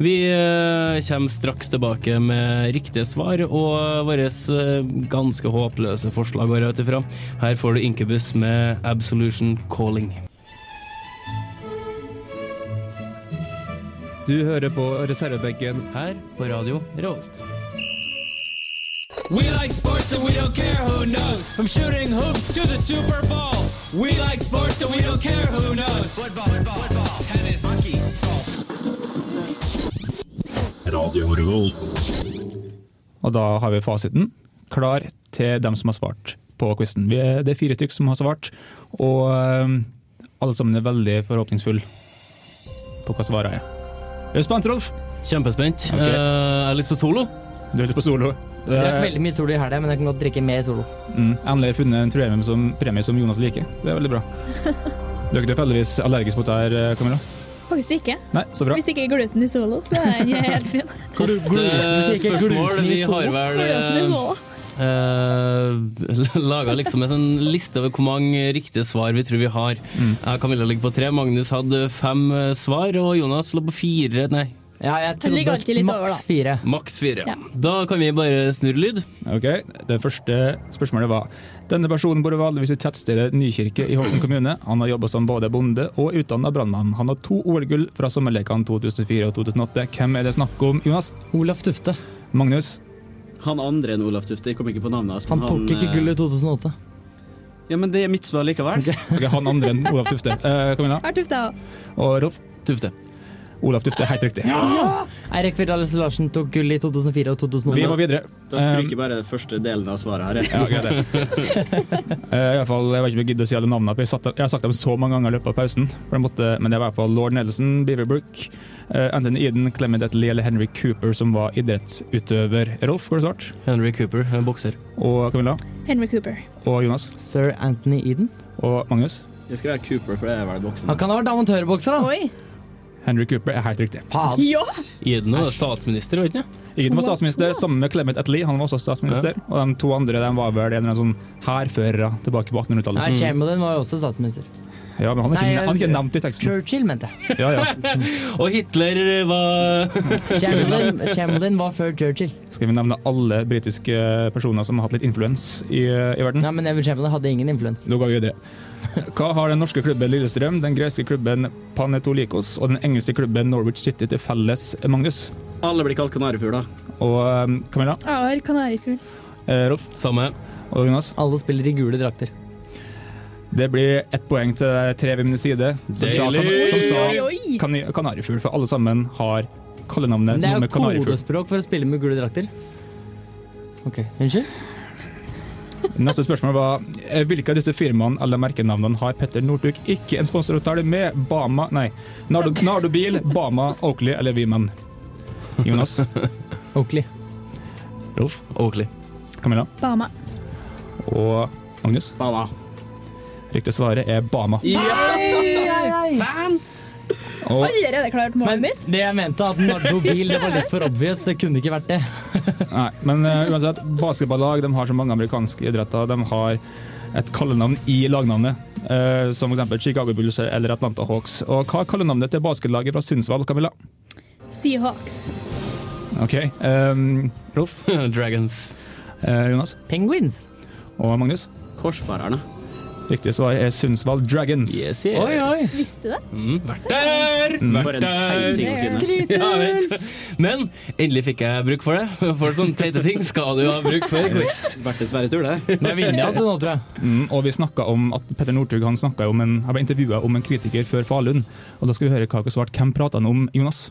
Speaker 7: Vi eh, kommer straks tilbake med riktige svar og eh, våre ganske håpløse forslag, går jeg ut ifra. Her får du Incubus med Absolution Calling.
Speaker 6: Du hører på reservebenken
Speaker 7: her på Radio Revolt.
Speaker 17: We like sports and we don't care who knows. From shooting hoops to the Super Bowl. We like sports and we don't care who knows. Football, football, football tennis, hockey,
Speaker 9: Radio Revolt.
Speaker 6: Og da har vi fasiten klar til dem som har svart på quizen. Vi er- Det er fire stykk som har svart, og eh, alle sammen er veldig forhåpningsfulle på hva svaret er. Er du spent, Rolf?
Speaker 7: Kjempespent.
Speaker 6: Ok.
Speaker 7: Eh, jeg har lyst på solo.
Speaker 6: Du er ute på solo.
Speaker 3: Jeg drakk
Speaker 6: Eh,
Speaker 3: veldig mye solo i helga, men jeg kan godt drikke mer solo.
Speaker 6: Mm, endelig har jeg funnet en premie som, premie som Jonas liker. Det er veldig bra. Du er ikke tilfeldigvis allergisk mot det her, eh, Camilla?
Speaker 8: Faktisk ikke.
Speaker 6: Nei, så bra.
Speaker 8: Hvis det ikke er gluten i solo, så er den helt fin.
Speaker 7: Åtte spørsmål. Vi har vel
Speaker 8: Gluten i solo.
Speaker 7: uh, laga liksom en sånn liste over hvor mange riktige svar vi tror vi har. Jeg og Camilla ligger på tre, Magnus hadde fem eh, svar, og Jonas lå på fire. Nei.
Speaker 3: Ja, jeg
Speaker 7: Det ligger
Speaker 3: trodde
Speaker 7: alltid litt
Speaker 3: maks
Speaker 7: over, da.
Speaker 3: fire.
Speaker 7: Maks fire.
Speaker 3: Ja.
Speaker 7: Da kan vi bare snurre lyd.
Speaker 6: Ok, Det første spørsmålet var Denne personen bor vanligvis i tettstedet Nykirke i Horten kommune. Han har jobba som både bonde og utdanna brannmann. Han har to OL-gull fra sommerlekene 2004 og 2008. Hvem er det snakk om, Jonas?
Speaker 3: Olaf Tufte.
Speaker 6: Magnus?
Speaker 12: Han andre enn Olaf Tufte, jeg kom ikke på navnet hans. men
Speaker 3: Han tok ikke
Speaker 12: eh,
Speaker 3: gull i 2008.
Speaker 12: Ja, men det er mitt svar likevel.
Speaker 6: Ok, han andre enn Olaf Tufte. Eh, Camilla
Speaker 8: Har tufta òg.
Speaker 6: og Rolf?
Speaker 7: Tufte.
Speaker 6: Olaf Tufte, helt riktig.
Speaker 3: Eirik Virdales Larsen tok gull i 2004 og 2008.
Speaker 6: Vi må videre.
Speaker 12: Da stryker jeg bare første delen av svaret her. jeg.
Speaker 6: Ja, greit det. Eh, i hvert fall, jeg vet ikke om jeg gidder å si alle navnene, for jeg, satt, jeg har sagt dem så mange ganger i løpet av pausen. For jeg måtte, men det var i hvert fall Lord Nelson, Beaverbrook, eh, Anthony Eden, Clement Attlee eller Henry Cooper som var idrettsutøver. Rolf, hvor har du svart?
Speaker 7: Henry Cooper, en bokser.
Speaker 6: Og Camilla?
Speaker 8: Henry Cooper.
Speaker 6: Og Jonas?
Speaker 3: Sir Anthony Eden.
Speaker 6: Og Magnus?
Speaker 12: Jeg skal være Cooper, for det er vel boksen.
Speaker 3: Han kan ha vært amatørbokser, da.
Speaker 8: Oi.
Speaker 6: Henry Cooper er helt riktig.
Speaker 3: Faen.
Speaker 8: Ja.
Speaker 7: Iden var statsminister, var ikke det?
Speaker 6: Eden var statsminister sammen med Clement Attlee, han var også statsminister. Og de to andre de var vel en eller annen sånn hærførere tilbake på
Speaker 3: Nei,
Speaker 6: 1800-tallet.
Speaker 3: Chamberlain var jo også statsminister.
Speaker 6: Ja, men han er ikke, han er ikke nevnt i teksten.
Speaker 3: Churchill, mente jeg.
Speaker 6: Ja, ja.
Speaker 7: Og Hitler var
Speaker 3: Chamberlain, Chamberlain var før Churchill.
Speaker 6: Skal vi nevne alle britiske personer som har hatt litt influens i, eh, i verden?
Speaker 3: Nei, men Evan Chamberlain hadde ingen influens.
Speaker 6: Nå går vi videre. Hva har den norske klubben Lillestrøm, den greske klubben Panetolikos og den engelske klubben Norwich City til felles, Magnus?
Speaker 12: Alle blir kalt kanarifugler.
Speaker 6: Og eh, Camilla?
Speaker 8: Jeg har kanarifugl.
Speaker 6: Eh, Rolf?
Speaker 7: Samme.
Speaker 6: Og Jonas?
Speaker 3: Alle spiller i gule drakter.
Speaker 6: Det blir ett poeng til tre ved min side, som sa,
Speaker 7: Deilig!
Speaker 6: som sa
Speaker 7: Oi, oi.
Speaker 6: kan- kanarifugl, for alle sammen har kallenavnet
Speaker 3: Men det
Speaker 6: noe
Speaker 3: er
Speaker 6: med
Speaker 3: jo
Speaker 6: kanarifugl.
Speaker 3: kodespråk for å spille med gule drakter. Ok, Unnskyld?
Speaker 6: Neste spørsmål var eh, hvilke av disse firmaene eller merkenavnene har Petter Northug ikke en sponsoravtale med? Bama, nei, Nardo, Nardo Bil, Bama, Oakley eller Weman? Jonas?
Speaker 3: Oakley.
Speaker 6: Rolf?
Speaker 7: Oakley.
Speaker 6: Camilla?
Speaker 8: Bama.
Speaker 6: Og Magnus?
Speaker 12: Bama.
Speaker 6: Riktig svaret er Bama.
Speaker 8: Fan!
Speaker 6: Og
Speaker 8: Allerede klart målet mitt.
Speaker 3: Det jeg mente, at Nardo Bil det var litt for obvious. Det kunne ikke vært det.
Speaker 6: Nei, men eh, uansett, basketballag de har så mange amerikanske idretter. De har et kallenavn i lagnavnet, eh, som f.eks. Chicago Bulls eller Atlanta Hawks. Og hva er kallenavnet til basketlaget fra Sundsvall, Camilla?
Speaker 8: Seahawks.
Speaker 6: OK. ehm, Rolf?
Speaker 7: Dragons.
Speaker 6: Jonas?
Speaker 3: Penguins.
Speaker 6: Og Magnus?
Speaker 12: Korsfarerne.
Speaker 6: Riktig svar er Sundsvall Dragons.
Speaker 7: Oi, oi.
Speaker 8: Visste det?
Speaker 7: Mm, vært der!
Speaker 6: Mm.
Speaker 7: Vært
Speaker 6: For en
Speaker 7: der!
Speaker 6: teit ting å kunne. Skryt,
Speaker 7: Ja, jeg vet. Men endelig fikk jeg bruk for det. For sånne teite ting skal du ha bruk for. Chris.
Speaker 12: Vært en sverre tur, det.
Speaker 3: Da vinner jeg alt nå, tror jeg.
Speaker 6: Mm, og vi snakket om at Petter Northug han snakket jo om en, han ble intervjua om en kritiker før Falun. Og da skal vi høre hva dere svarte. Hvem pratet han om, Jonas?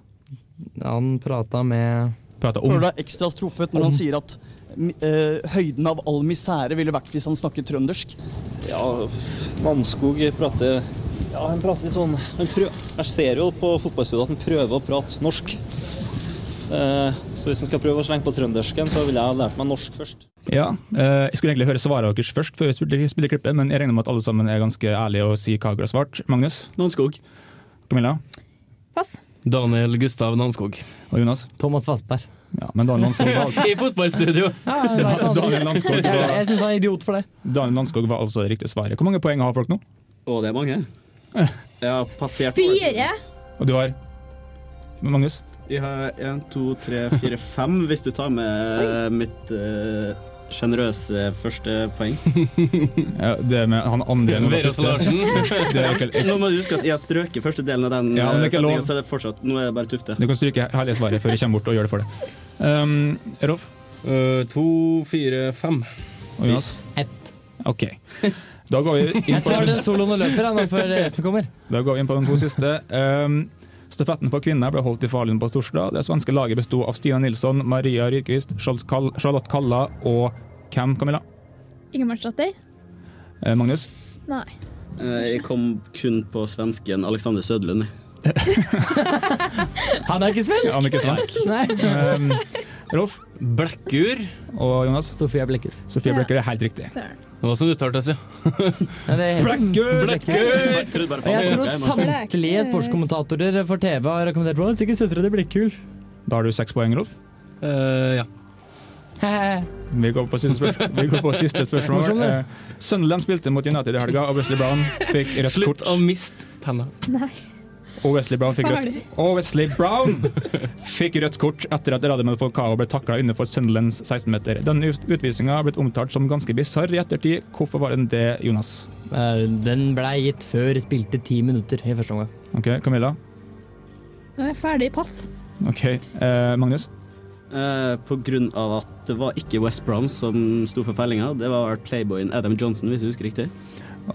Speaker 3: Han prata med
Speaker 6: Prata om
Speaker 14: Føler deg ekstra truffet når han sier at eh, høyden av all misere ville vært hvis han snakket trøndersk.
Speaker 15: Ja, Mannskog prater Ja, han prater litt sånn han prø- Jeg ser jo på fotballstudiet at han prøver å prate norsk. Eh, så hvis han skal prøve å slenge på trøndersken, så ville jeg ha lært meg norsk først.
Speaker 6: Ja, eh, jeg skulle egentlig høre svarene deres først, før jeg spilte, spilte klippet, men jeg regner med at alle sammen er ganske ærlige og sier hva dere har svart. Magnus?
Speaker 12: Nanskog.
Speaker 6: Camilla?
Speaker 8: Pass.
Speaker 7: Daniel Gustav Nanskog.
Speaker 6: Og Jonas?
Speaker 3: Thomas Vassberg.
Speaker 6: Ja, men Daniel Landskog var,
Speaker 7: I fotballstudio.
Speaker 6: Da- Daniel Landskog
Speaker 3: Jeg,
Speaker 6: var,
Speaker 3: jeg syns han er idiot for det.
Speaker 6: Daniel Landskog var altså det riktige svaret. Hvor mange poeng har folk nå?
Speaker 12: Å, det er mange. Jeg har passert
Speaker 8: Fire.
Speaker 6: Og du har Magnus?
Speaker 12: Jeg har én, to, tre, fire, fem, hvis du tar med mitt eh, sjenerøse første poeng.
Speaker 6: Ja, det med han andre enn
Speaker 7: Verås Larsen.
Speaker 6: Det er ikke,
Speaker 12: Nå må du huske at jeg strøker første delen av den
Speaker 6: Ja, men det er ikke
Speaker 12: setningen,
Speaker 6: lov.
Speaker 12: så er det fortsatt, nå er det bare Tufte.
Speaker 6: Du kan stryke hele svaret før jeg kommer bort og gjør det for deg. Um, Rolf?
Speaker 7: Eh, to, fire, fem.
Speaker 6: Og Jonas?
Speaker 3: Ett.
Speaker 6: OK. Da går vi inn
Speaker 3: Jeg
Speaker 6: på,
Speaker 3: tar den soloen og løper jeg, nå før resten kommer.
Speaker 6: da går vi inn på de to siste. Um, Stafetten for kvinner ble holdt i Falun på torsdag. Det svenske laget besto av Stina Nilsson, Maria Rydquist, Charlotte Kall- Charlotte Kalla og hvem, Camilla?
Speaker 8: Ingemardsdatter?
Speaker 6: Eh, Magnus?
Speaker 8: Nei.
Speaker 12: Eh, Jeg kom kun på svensken Alexander Sødlund.
Speaker 3: Han er ikke svensk!
Speaker 6: Ja, men ikke svensk.
Speaker 3: Nei.
Speaker 6: Um, Rolf?
Speaker 7: Blekkur.
Speaker 6: Og Jonas?
Speaker 3: Sofia Blekker.
Speaker 6: Sofie Blekker er helt riktig.
Speaker 8: Søren.
Speaker 7: Det var som det uttalte seg.
Speaker 3: Ja, det er helt-
Speaker 6: Blekkur!
Speaker 7: Blekkur!
Speaker 3: Og jeg tror samtlige sportskommentatorer for TV har rekommendert Rollins. Ikke søstre til Blekkulf.
Speaker 6: Da har du seks poeng, Rolf.
Speaker 7: Eh, ja.
Speaker 6: Vi går på siste spørsmål. Vi går på siste spørsmål.
Speaker 3: Morsom, det.
Speaker 6: Eh, Sunderland spilte mot United i helga, og Wesley Brown fikk rødt
Speaker 7: Slutt
Speaker 6: kort.
Speaker 7: å miste penna.
Speaker 8: Nei.
Speaker 6: Og Wesley Brown fikk rødt
Speaker 8: Ferdig.
Speaker 6: Og Wesley Brown fikk rødt kort etter at Radamel Falcao ble takla innenfor Sunderlands 16-meter. Denne ut- utvisninga har blitt omtalt som ganske bisarr i ettertid. Hvorfor var den det, Jonas?
Speaker 3: Eh, Den blei gitt før spilte ti minutter i første omgang.
Speaker 6: OK, Camilla.
Speaker 8: Nå er jeg ferdig. Pass.
Speaker 6: OK, eh, Magnus.
Speaker 12: Eh, På grunn av at det var ikke West Brom som sto for fellinga, det var vel playboyen Adam Johnson, hvis jeg husker riktig.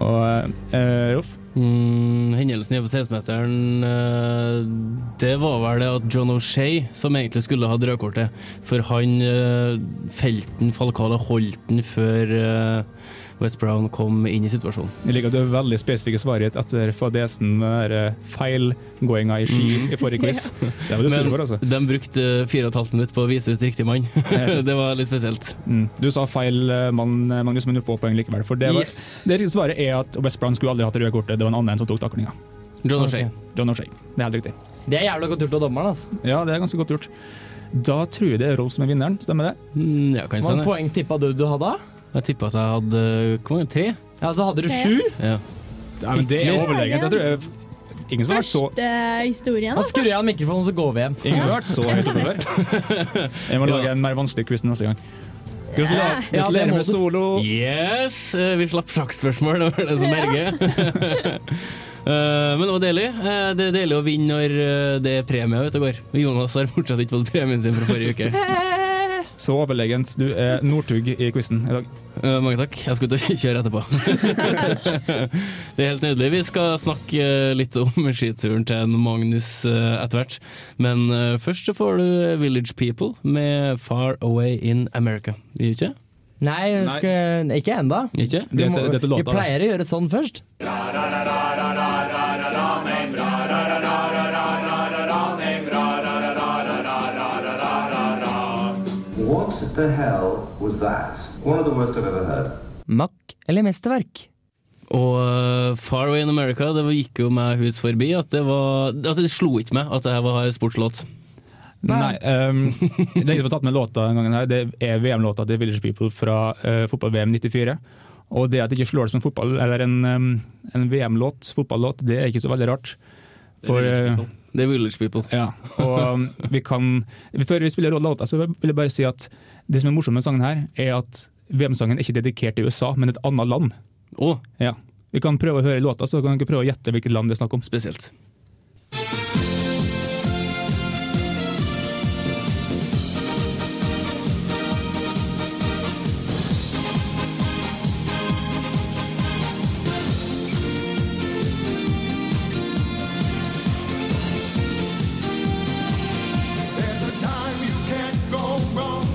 Speaker 6: Og eh, Rolf.
Speaker 7: Mm, hendelsen i på 16-meteren eh, Det var vel det at John O'Shay, som egentlig skulle ha hatt rødkortet For han eh, felte den Falcala holdt den før eh, West Brown kom inn i situasjonen.
Speaker 6: Jeg liker at du er veldig spesifikke svaret ditt etter fadesen med den der eh, feilgåinga i ski i forrige quiz. Det var du stor
Speaker 7: Men
Speaker 6: for, altså.
Speaker 7: de brukte eh, fire og et halvt minutt på å vise ut riktig mann, så det var litt spesielt.
Speaker 6: Mm. Du sa feil eh, mann, eh, Magnus, men du får poeng likevel. For det, var,
Speaker 12: Yes.
Speaker 6: det riktige svaret er at West Brown skulle aldri hatt det røde kortet. Det var en annen som tok taklinga.
Speaker 7: John O'Shay.
Speaker 6: John O'Shay. Det er helt riktig.
Speaker 3: Det er jævla godt gjort av dommeren. altså.
Speaker 6: Ja, det er ganske godt gjort. Da tror jeg det er Rolf som er vinneren, stemmer det?
Speaker 7: Mm, ja, kan jeg si
Speaker 3: Hvor mange
Speaker 7: det.
Speaker 3: poeng tippa du du hadde? da?
Speaker 7: Jeg tippa at jeg hadde hvor eh, mange, tre.
Speaker 3: Ja, så hadde du sju?
Speaker 7: Ja.
Speaker 6: Ja, men det er
Speaker 3: Hykler.
Speaker 6: overlegent. Jeg tror jeg, ingen som har vært så
Speaker 8: Første historien.
Speaker 3: Han
Speaker 8: altså.
Speaker 3: skrur av mikrofonen, så går vi hjem.
Speaker 6: Ingen som har vært så høyt oppe før. Jeg må lage en mer vanskelig quiz neste gang. Gratulerer,
Speaker 7: Ja, det
Speaker 6: gratulerer
Speaker 7: må
Speaker 6: med
Speaker 7: du.
Speaker 6: solo!
Speaker 7: Yes! eh, Vi slapp sjakkspørsmål, det var det som berget. Eh, Men det var deilig. Eh, Det er deilig å vinne når eh, det er premie ute og går. Jonas har fortsatt ikke fått premien sin fra forrige uke.
Speaker 6: Så overlegent. Du er Northug i quizen i dag.
Speaker 7: Eh, mange takk. Jeg skal ut og kjøre etterpå. det er helt nydelig. Vi skal snakke eh, litt om skituren til en Magnus eh, etter hvert. Men eh, først så får du Village People med Far Away in America. Gjør ikke?
Speaker 3: Nei, jeg husker- ikke ennå.
Speaker 7: Ikke?
Speaker 3: Vi
Speaker 7: Det
Speaker 3: må-
Speaker 7: heter- det heter låta,
Speaker 3: Vi
Speaker 7: da.
Speaker 3: pleier å gjøre sånn først.
Speaker 18: What the hell was that? One of the worst I've ever heard.
Speaker 3: Mack eller mesterverk?
Speaker 7: Og eh, Far Away in America, det var- gikk jo meg hus forbi. At det, var, at det slo ikke meg at det var en sportslåt.
Speaker 6: Nei. Um, det er ingen som har tatt med låta denne gangen. her. Det er VM-låta til Village People fra eh, fotball-VM 94. Og det at det ikke slår det som en fotball, eller en, um, en VM-låt, fotball-låt, det er ikke så veldig rart. eh,
Speaker 7: Det er Village People.
Speaker 6: Ja, og um, vi kan Før vi spiller låta, så vil jeg bare si at det som er morsomt med sangen her, er at VM-sangen er ikke dedikert til USA, men et annet land.
Speaker 7: Oh.
Speaker 6: Ja. Vi kan prøve å høre låta, så kan dere prøve å gjette hvilket land det er snakk om.
Speaker 7: Spesielt.
Speaker 5: There's a time you can't go wrong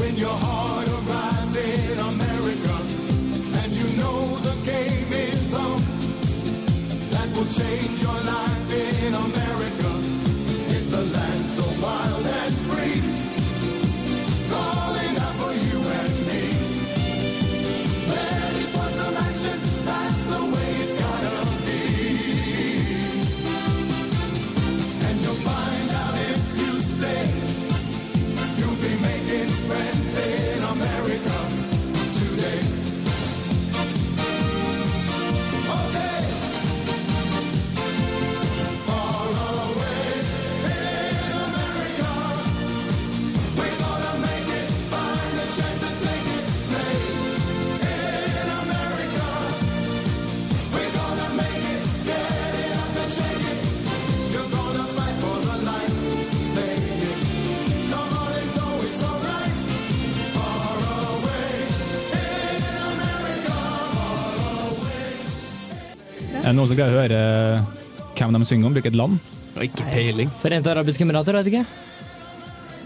Speaker 5: when your heart arrives in America and you know the game is on. That will change your life in America. It's a land so wild and free, calling out for you and me. Ready for some action? That's the way it's gotta be. And you'll find out if you stay. You'll be making friends in America today. Okay. Far away in America. We're gonna make it. Find a chance to take it. Place in America. We're gonna make it. Get it up and shake it. You're gonna fight for the light, baby. Come on and go, it's alright. Far away in America.
Speaker 6: Er det noen som greier å høre eh, hvem de synger om, hvilket land?
Speaker 7: Ikke peiling.
Speaker 3: Forente arabiske emirater, vet ikke.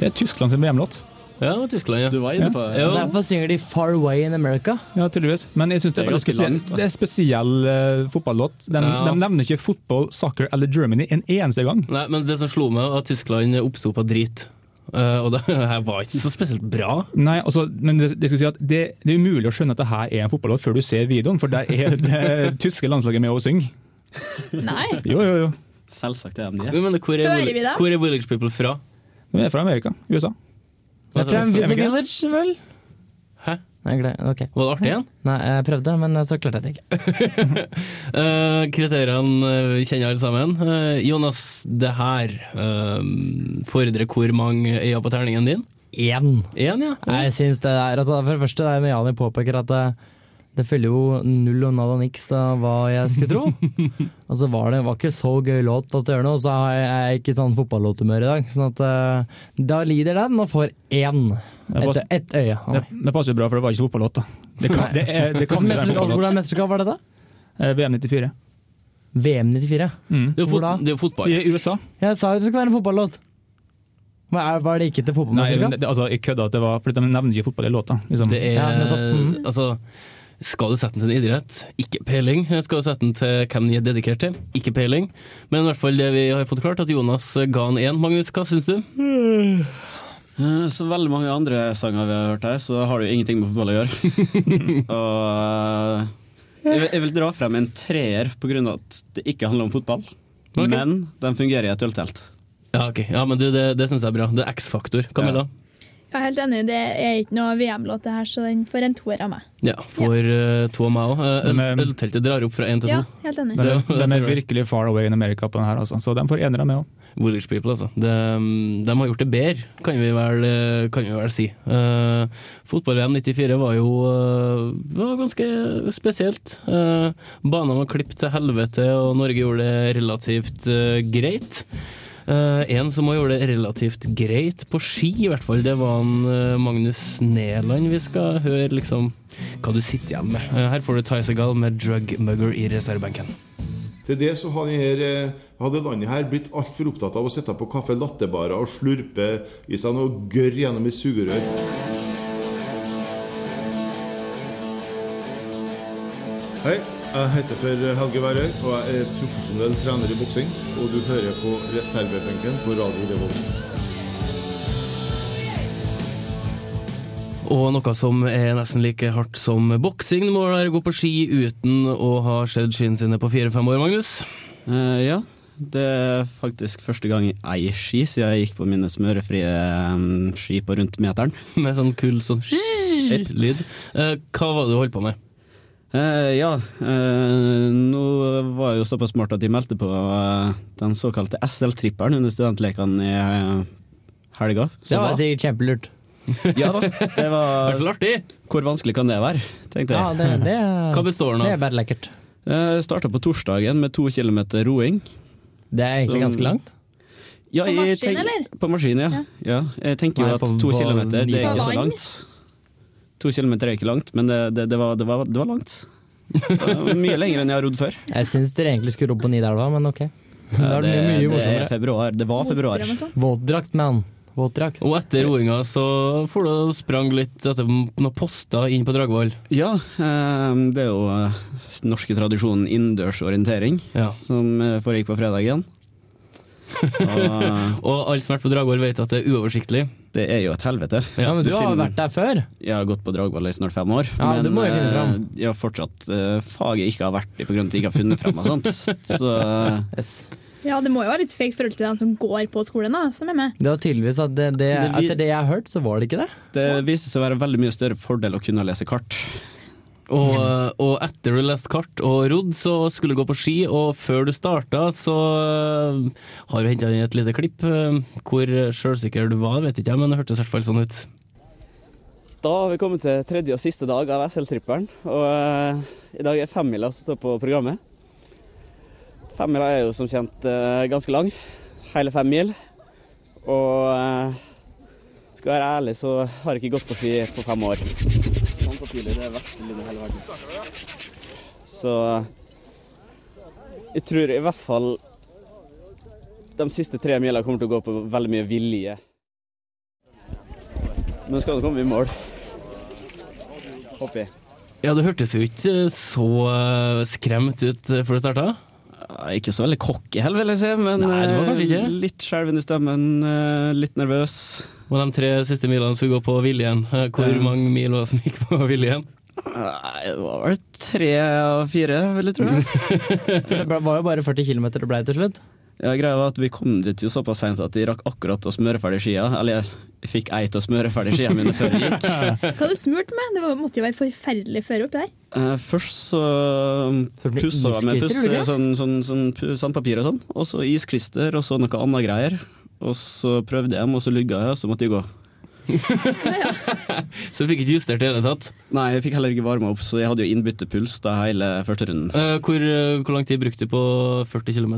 Speaker 6: Det er Tyskland sin VM-låt.
Speaker 7: Ja, Tyskland, ja. Du var
Speaker 6: inne på det.
Speaker 3: Ja. Derfor synger de Far Away in America.
Speaker 6: Ja, tydeligvis. Men jeg synes det er,
Speaker 3: Det er
Speaker 6: veldig
Speaker 3: ganske
Speaker 6: spesiell,
Speaker 3: langt, da.
Speaker 6: det er spesiell eh, fotballåt. De,
Speaker 7: Ja.
Speaker 6: de nevner ikke fotball, soccer eller Germany en eneste gang.
Speaker 7: Nei, men det som slo meg, var at Tyskland oppsto på drit. Eh, og det her var ikke så spesielt bra.
Speaker 6: Nei, altså, men det, det, skal si at det, det er umulig å skjønne at det her er en fotballåt før du ser videoen, for der er det eh, tyske landslaget med å synge.
Speaker 8: Nei.
Speaker 6: Jo, jo, jo.
Speaker 12: Selvsagt er de det.
Speaker 7: Men, men, hvor, er,
Speaker 8: Hører vi
Speaker 7: Vill-
Speaker 8: det?
Speaker 7: hvor er Village People fra?
Speaker 6: De er fra Amerika. USA.
Speaker 3: Det er fra
Speaker 6: Er vi
Speaker 3: The
Speaker 6: ikke det?
Speaker 3: Village, vel?
Speaker 7: Hæ?
Speaker 3: Nei, gle- ok.
Speaker 7: Var det artig igjen?
Speaker 3: Nei, jeg prøvde, men så klarte jeg det ikke.
Speaker 7: Eh, kriteriene eh, vi kjenner alle sammen. Eh, Jonas, det her eh, fordrer hvor mange øyne på terningen din?
Speaker 3: Én.
Speaker 7: Én, ja.
Speaker 3: Nei, Jeg synes det er, altså For det første er det Jani påpeker at det, det følger jo null og nada niks av hva jeg skulle tro. og så var det var ikke så gøy låt at det gjør noe, og så har jeg, jeg er ikke sånn fotballåthumør i dag. Sånn at eh, da lider den og får én.
Speaker 6: Det
Speaker 3: Ett
Speaker 6: var-
Speaker 3: et øye.
Speaker 6: Det, det passer jo bra, for det var ikke fotballåt, da. Det kan, det er, det kan
Speaker 3: Hvordan
Speaker 6: ikke være en
Speaker 3: mesterskap- Hvordan
Speaker 6: fotballåt.
Speaker 3: mesterskap var dette?
Speaker 6: Eh, VM 94.
Speaker 3: VM 94?
Speaker 6: Mm.
Speaker 3: Hvor da?
Speaker 7: Det er jo fotball.
Speaker 6: I USA.
Speaker 3: Jeg sa jo det skulle være en fotballåt. Men er- Var det ikke til
Speaker 6: Nei,
Speaker 3: fotballmesterskap?
Speaker 6: men det, altså, jeg kødda at det var fordi de nevner ikke fotball i låta. Liksom.
Speaker 7: Det er
Speaker 3: Ja,
Speaker 7: Altså, skal du sette den til en idrett? Ikke peiling. Skal du sette den til hvem den er dedikert til? Ikke peiling. Men i hvert fall det vi har fått klart, at Jonas ga den én. Magnus, hva syns du?
Speaker 12: Eh, Som veldig mange andre sanger vi har hørt her, så har det jo ingenting med fotball å gjøre. og eh, jeg vil- jeg vil dra frem en treer på grunn av at det ikke handler om fotball,
Speaker 7: Ok.
Speaker 12: men den fungerer i et øltelt.
Speaker 7: Ja, ok. ja men du, det, det syns jeg er bra. Det er X-faktor. Camilla?
Speaker 8: Jeg er helt enig, det er ikke noe VM-låt det her, så den får en toer av meg.
Speaker 7: Ja, for eh, to av meg òg. Ølteltet drar opp fra én til to.
Speaker 8: Ja, helt enig.
Speaker 6: Den,
Speaker 7: Det-
Speaker 6: er- den
Speaker 7: det
Speaker 6: er
Speaker 7: tror jeg.
Speaker 6: virkelig far away in America på den her, altså. Så den får enere med òg.
Speaker 7: Village People, altså. De, de har gjort det bedre, kan vi vel, kan vi vel si. Eh, Fotball-VM 94 var jo eh, var ganske spesielt. Uh, Banene var klippet til helvete, og Norge gjorde det relativt eh, greit. Eh, en som også gjorde det relativt greit på ski, i hvert fall, det var en, eh, Magnus Neland. Vi skal høre liksom hva du sitter igjen med. Eh, her får du Ty Segal med 'Drug Mugger' i reservebenken.
Speaker 19: Til det så har denne, her, eh, hadde landet her blitt altfor opptatt av å sitte på kaffe lattebarer og slurpe i seg noe gørr gjennom et sugerør. Hei, jeg heter for Helge Værøy, og jeg er profesjonell trener i boksing. Og du hører på reservebenken på Radio Revolt.
Speaker 7: Og noe som er nesten like hardt som boksing, må være å gå på ski uten å ha skjedd skiene sine på fire-fem år, Magnus.
Speaker 12: Eh, ja, det er faktisk første gang jeg eier ski siden jeg gikk på mine smørefrie eh, ski på rundt meteren.
Speaker 7: Med sånn kul sånn lyd. Eh, hva var det du holdt på med?
Speaker 12: ja, eh, nå var jeg jo såpass smart at jeg meldte på eh, den såkalte SL-tripperen under studentlekene i eh, helga.
Speaker 3: Det var sikkert kjempelurt.
Speaker 12: Ja da, det var Hvor vanskelig kan det være, tenkte jeg.
Speaker 3: Ja, det- det er-
Speaker 12: Hva består den av?
Speaker 3: det er bare lekkert.
Speaker 12: Starta på torsdagen med to kilometer roing.
Speaker 3: Det er egentlig ganske langt.
Speaker 16: På
Speaker 12: Ja, jeg
Speaker 16: maskin,
Speaker 12: tenk-
Speaker 16: eller?
Speaker 12: På maskin, ja. ja. Jeg tenker
Speaker 3: Nei,
Speaker 12: jo at
Speaker 3: på
Speaker 12: to
Speaker 3: vann-
Speaker 12: kilometer, det
Speaker 16: På
Speaker 12: er ikke så
Speaker 16: vann?
Speaker 12: langt. To kilometer er ikke langt, men det, det, det, var, det, var, det var langt. Det var Mye lenger enn jeg har rodd før.
Speaker 3: Jeg syns dere egentlig skulle rodd på Nidelva, men ok.
Speaker 12: Ja,
Speaker 3: Da er det mye
Speaker 12: det er
Speaker 3: morsommere.
Speaker 12: februar. Det var februar.
Speaker 16: sånn.
Speaker 3: Våtdrakt, man. Våtdrakt.
Speaker 7: Og etter roinga så for du og sprang litt etter noen poster inn på Dragvoll.
Speaker 12: Ja, eh, det er jo eh, den norske tradisjonen innendørsorientering, som eh, foregikk på fredagen. Og,
Speaker 7: og alle som har vært på Dragvoll vet at det er uoversiktlig.
Speaker 12: Det er jo et helvete.
Speaker 3: Ja, men du har
Speaker 12: finner-
Speaker 3: vært der før.
Speaker 12: Jeg har gått på Dragvoll i snart fem år,
Speaker 3: Ja, du
Speaker 12: men
Speaker 3: må jo finne
Speaker 12: eh,
Speaker 3: fram.
Speaker 12: jeg har fortsatt eh, fag jeg ikke har vært i pga. at jeg ikke har funnet fram og sånt. Så eh,
Speaker 8: Ja, det må jo være litt fake forhold til dem som går på skolen, da, som er med.
Speaker 3: Det var tydeligvis at det, det,
Speaker 12: Det vi-
Speaker 3: etter det jeg har hørt, så var det ikke det.
Speaker 12: det viser seg å være veldig mye større fordel å kunne lese kart.
Speaker 7: Og, eh, og etter du leste kart og rodd, så skulle du gå på ski, og før du starta, så øh, har du henta inn et lite klipp. øh, Hvor sjølsikker du var, vet ikke jeg, men det hørtes i hvert fall sånn ut.
Speaker 15: Da har vi kommet til tredje og siste dag av SL-tripperen, og eh, i dag er femmila som står på programmet. Femmila er jo som kjent eh, ganske lang, hele fem mil. Og eh, skal jeg være ærlig, så har jeg ikke gått på ski på fem år. Sånn papir, det er verste lyden i hele verden. Så jeg tror i hvert fall de siste tre mila kommer til å gå på veldig mye vilje. Men skal du komme i mål? Håper jeg.
Speaker 7: Ja, det hørtes jo ikke eh, så øh, skremt ut øh, før du starta.
Speaker 12: Ikke så veldig cocky heller, vil jeg si, men
Speaker 7: Nei, det var kanskje ikke.
Speaker 12: eh, litt skjelven i stemmen, eh, litt nervøs.
Speaker 7: Og de tre siste milene skulle gå på viljen. Eh, Hvor
Speaker 12: Ja.
Speaker 7: mange mil var det som gikk på viljen?
Speaker 12: Nei, det var vel tre av fire, vil jeg tro.
Speaker 3: For det ble- var jo bare 40 km det blei til slutt.
Speaker 12: Ja, greia var at Vi kom dit jo såpass seint at jeg rakk akkurat å smøre ferdig skia. Eller jeg fikk ei til å smøre ferdig skia mine før jeg gikk.
Speaker 8: Hva du smurte med? Det var- måtte jo være forferdelig før opp der.
Speaker 12: Eh, først så
Speaker 3: det blir
Speaker 12: pussa jeg med puss,
Speaker 3: isklister, gjorde du ikke?
Speaker 12: sånn, sånn, sånn pu- sandpapir og sånn. Og så isklister og så noe annet greier. Og så prøvde jeg, og så lugga jeg, og så måtte jeg gå.
Speaker 7: så du fikk ikke justert det i det hele tatt?
Speaker 12: Nei, jeg fikk heller ikke varma opp, så jeg hadde jo innbyttepuls da hele første runden.
Speaker 7: Eh, Hvor, øh, hvor lang tid brukte du på 40 km?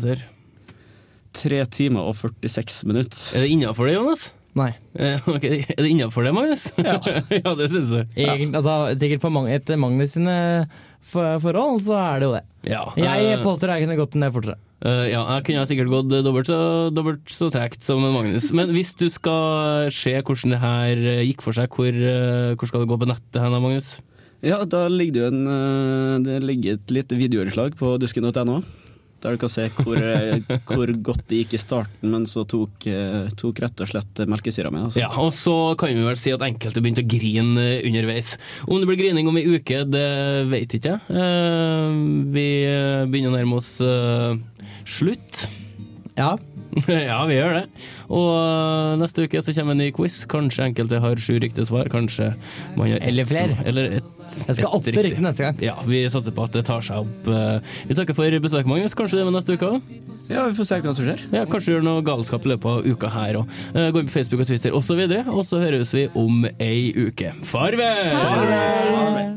Speaker 12: Tre timer og 46 minutter.
Speaker 7: Er det innafor det, Jonas?
Speaker 3: Nei.
Speaker 7: Eh, ok, Er det innafor det, Magnus? Ja, det syns jeg.
Speaker 3: Egentlig, altså, sikkert for Mag- etter Magnus sine for forhold, så er det jo det.
Speaker 7: Ja.
Speaker 3: Jeg
Speaker 7: Eh,
Speaker 3: påstår jeg kunne gått ned fortere.
Speaker 7: Eh, ja, jeg kunne sikkert gått dobbelt så, dobbelt så tregt som Magnus. Men hvis du skal se hvordan det her gikk for seg, hvor, eh, hvor skal du gå på nettet hen, da, Magnus?
Speaker 12: Ja, da ligger det jo en eh, Det ligger et lite videoinnslag på dusken.no. Der du kan se hvor, eh, hvor godt det gikk i starten, men så tok, eh, tok rett og slett melkesyra mi. Altså.
Speaker 7: Ja, og så kan vi vel si at enkelte begynte å grine eh, underveis. Om det blir grining om ei uke, det vet ikke jeg. Eh, vi eh, begynner å nærme oss eh, slutt.
Speaker 3: Ja.
Speaker 7: ja, vi gjør det. Og øh, neste uke så kommer en ny quiz. Kanskje enkelte har sju riktige svar. Kanskje man har ett
Speaker 3: Eller flere.
Speaker 7: som- Eller et,
Speaker 3: Jeg skal åtte riktig neste gang.
Speaker 7: Ja, vi satser på at det tar seg opp. Eh, Vi takker for besøket, Magnus. Kanskje du er med neste uke òg?
Speaker 12: Ja, vi får se hva som skjer.
Speaker 7: Ja, kanskje du gjør noe galskap i løpet av uka her òg. Gå inn på Facebook og Twitter osv., og så høres vi om ei uke. Farvel! Farvel!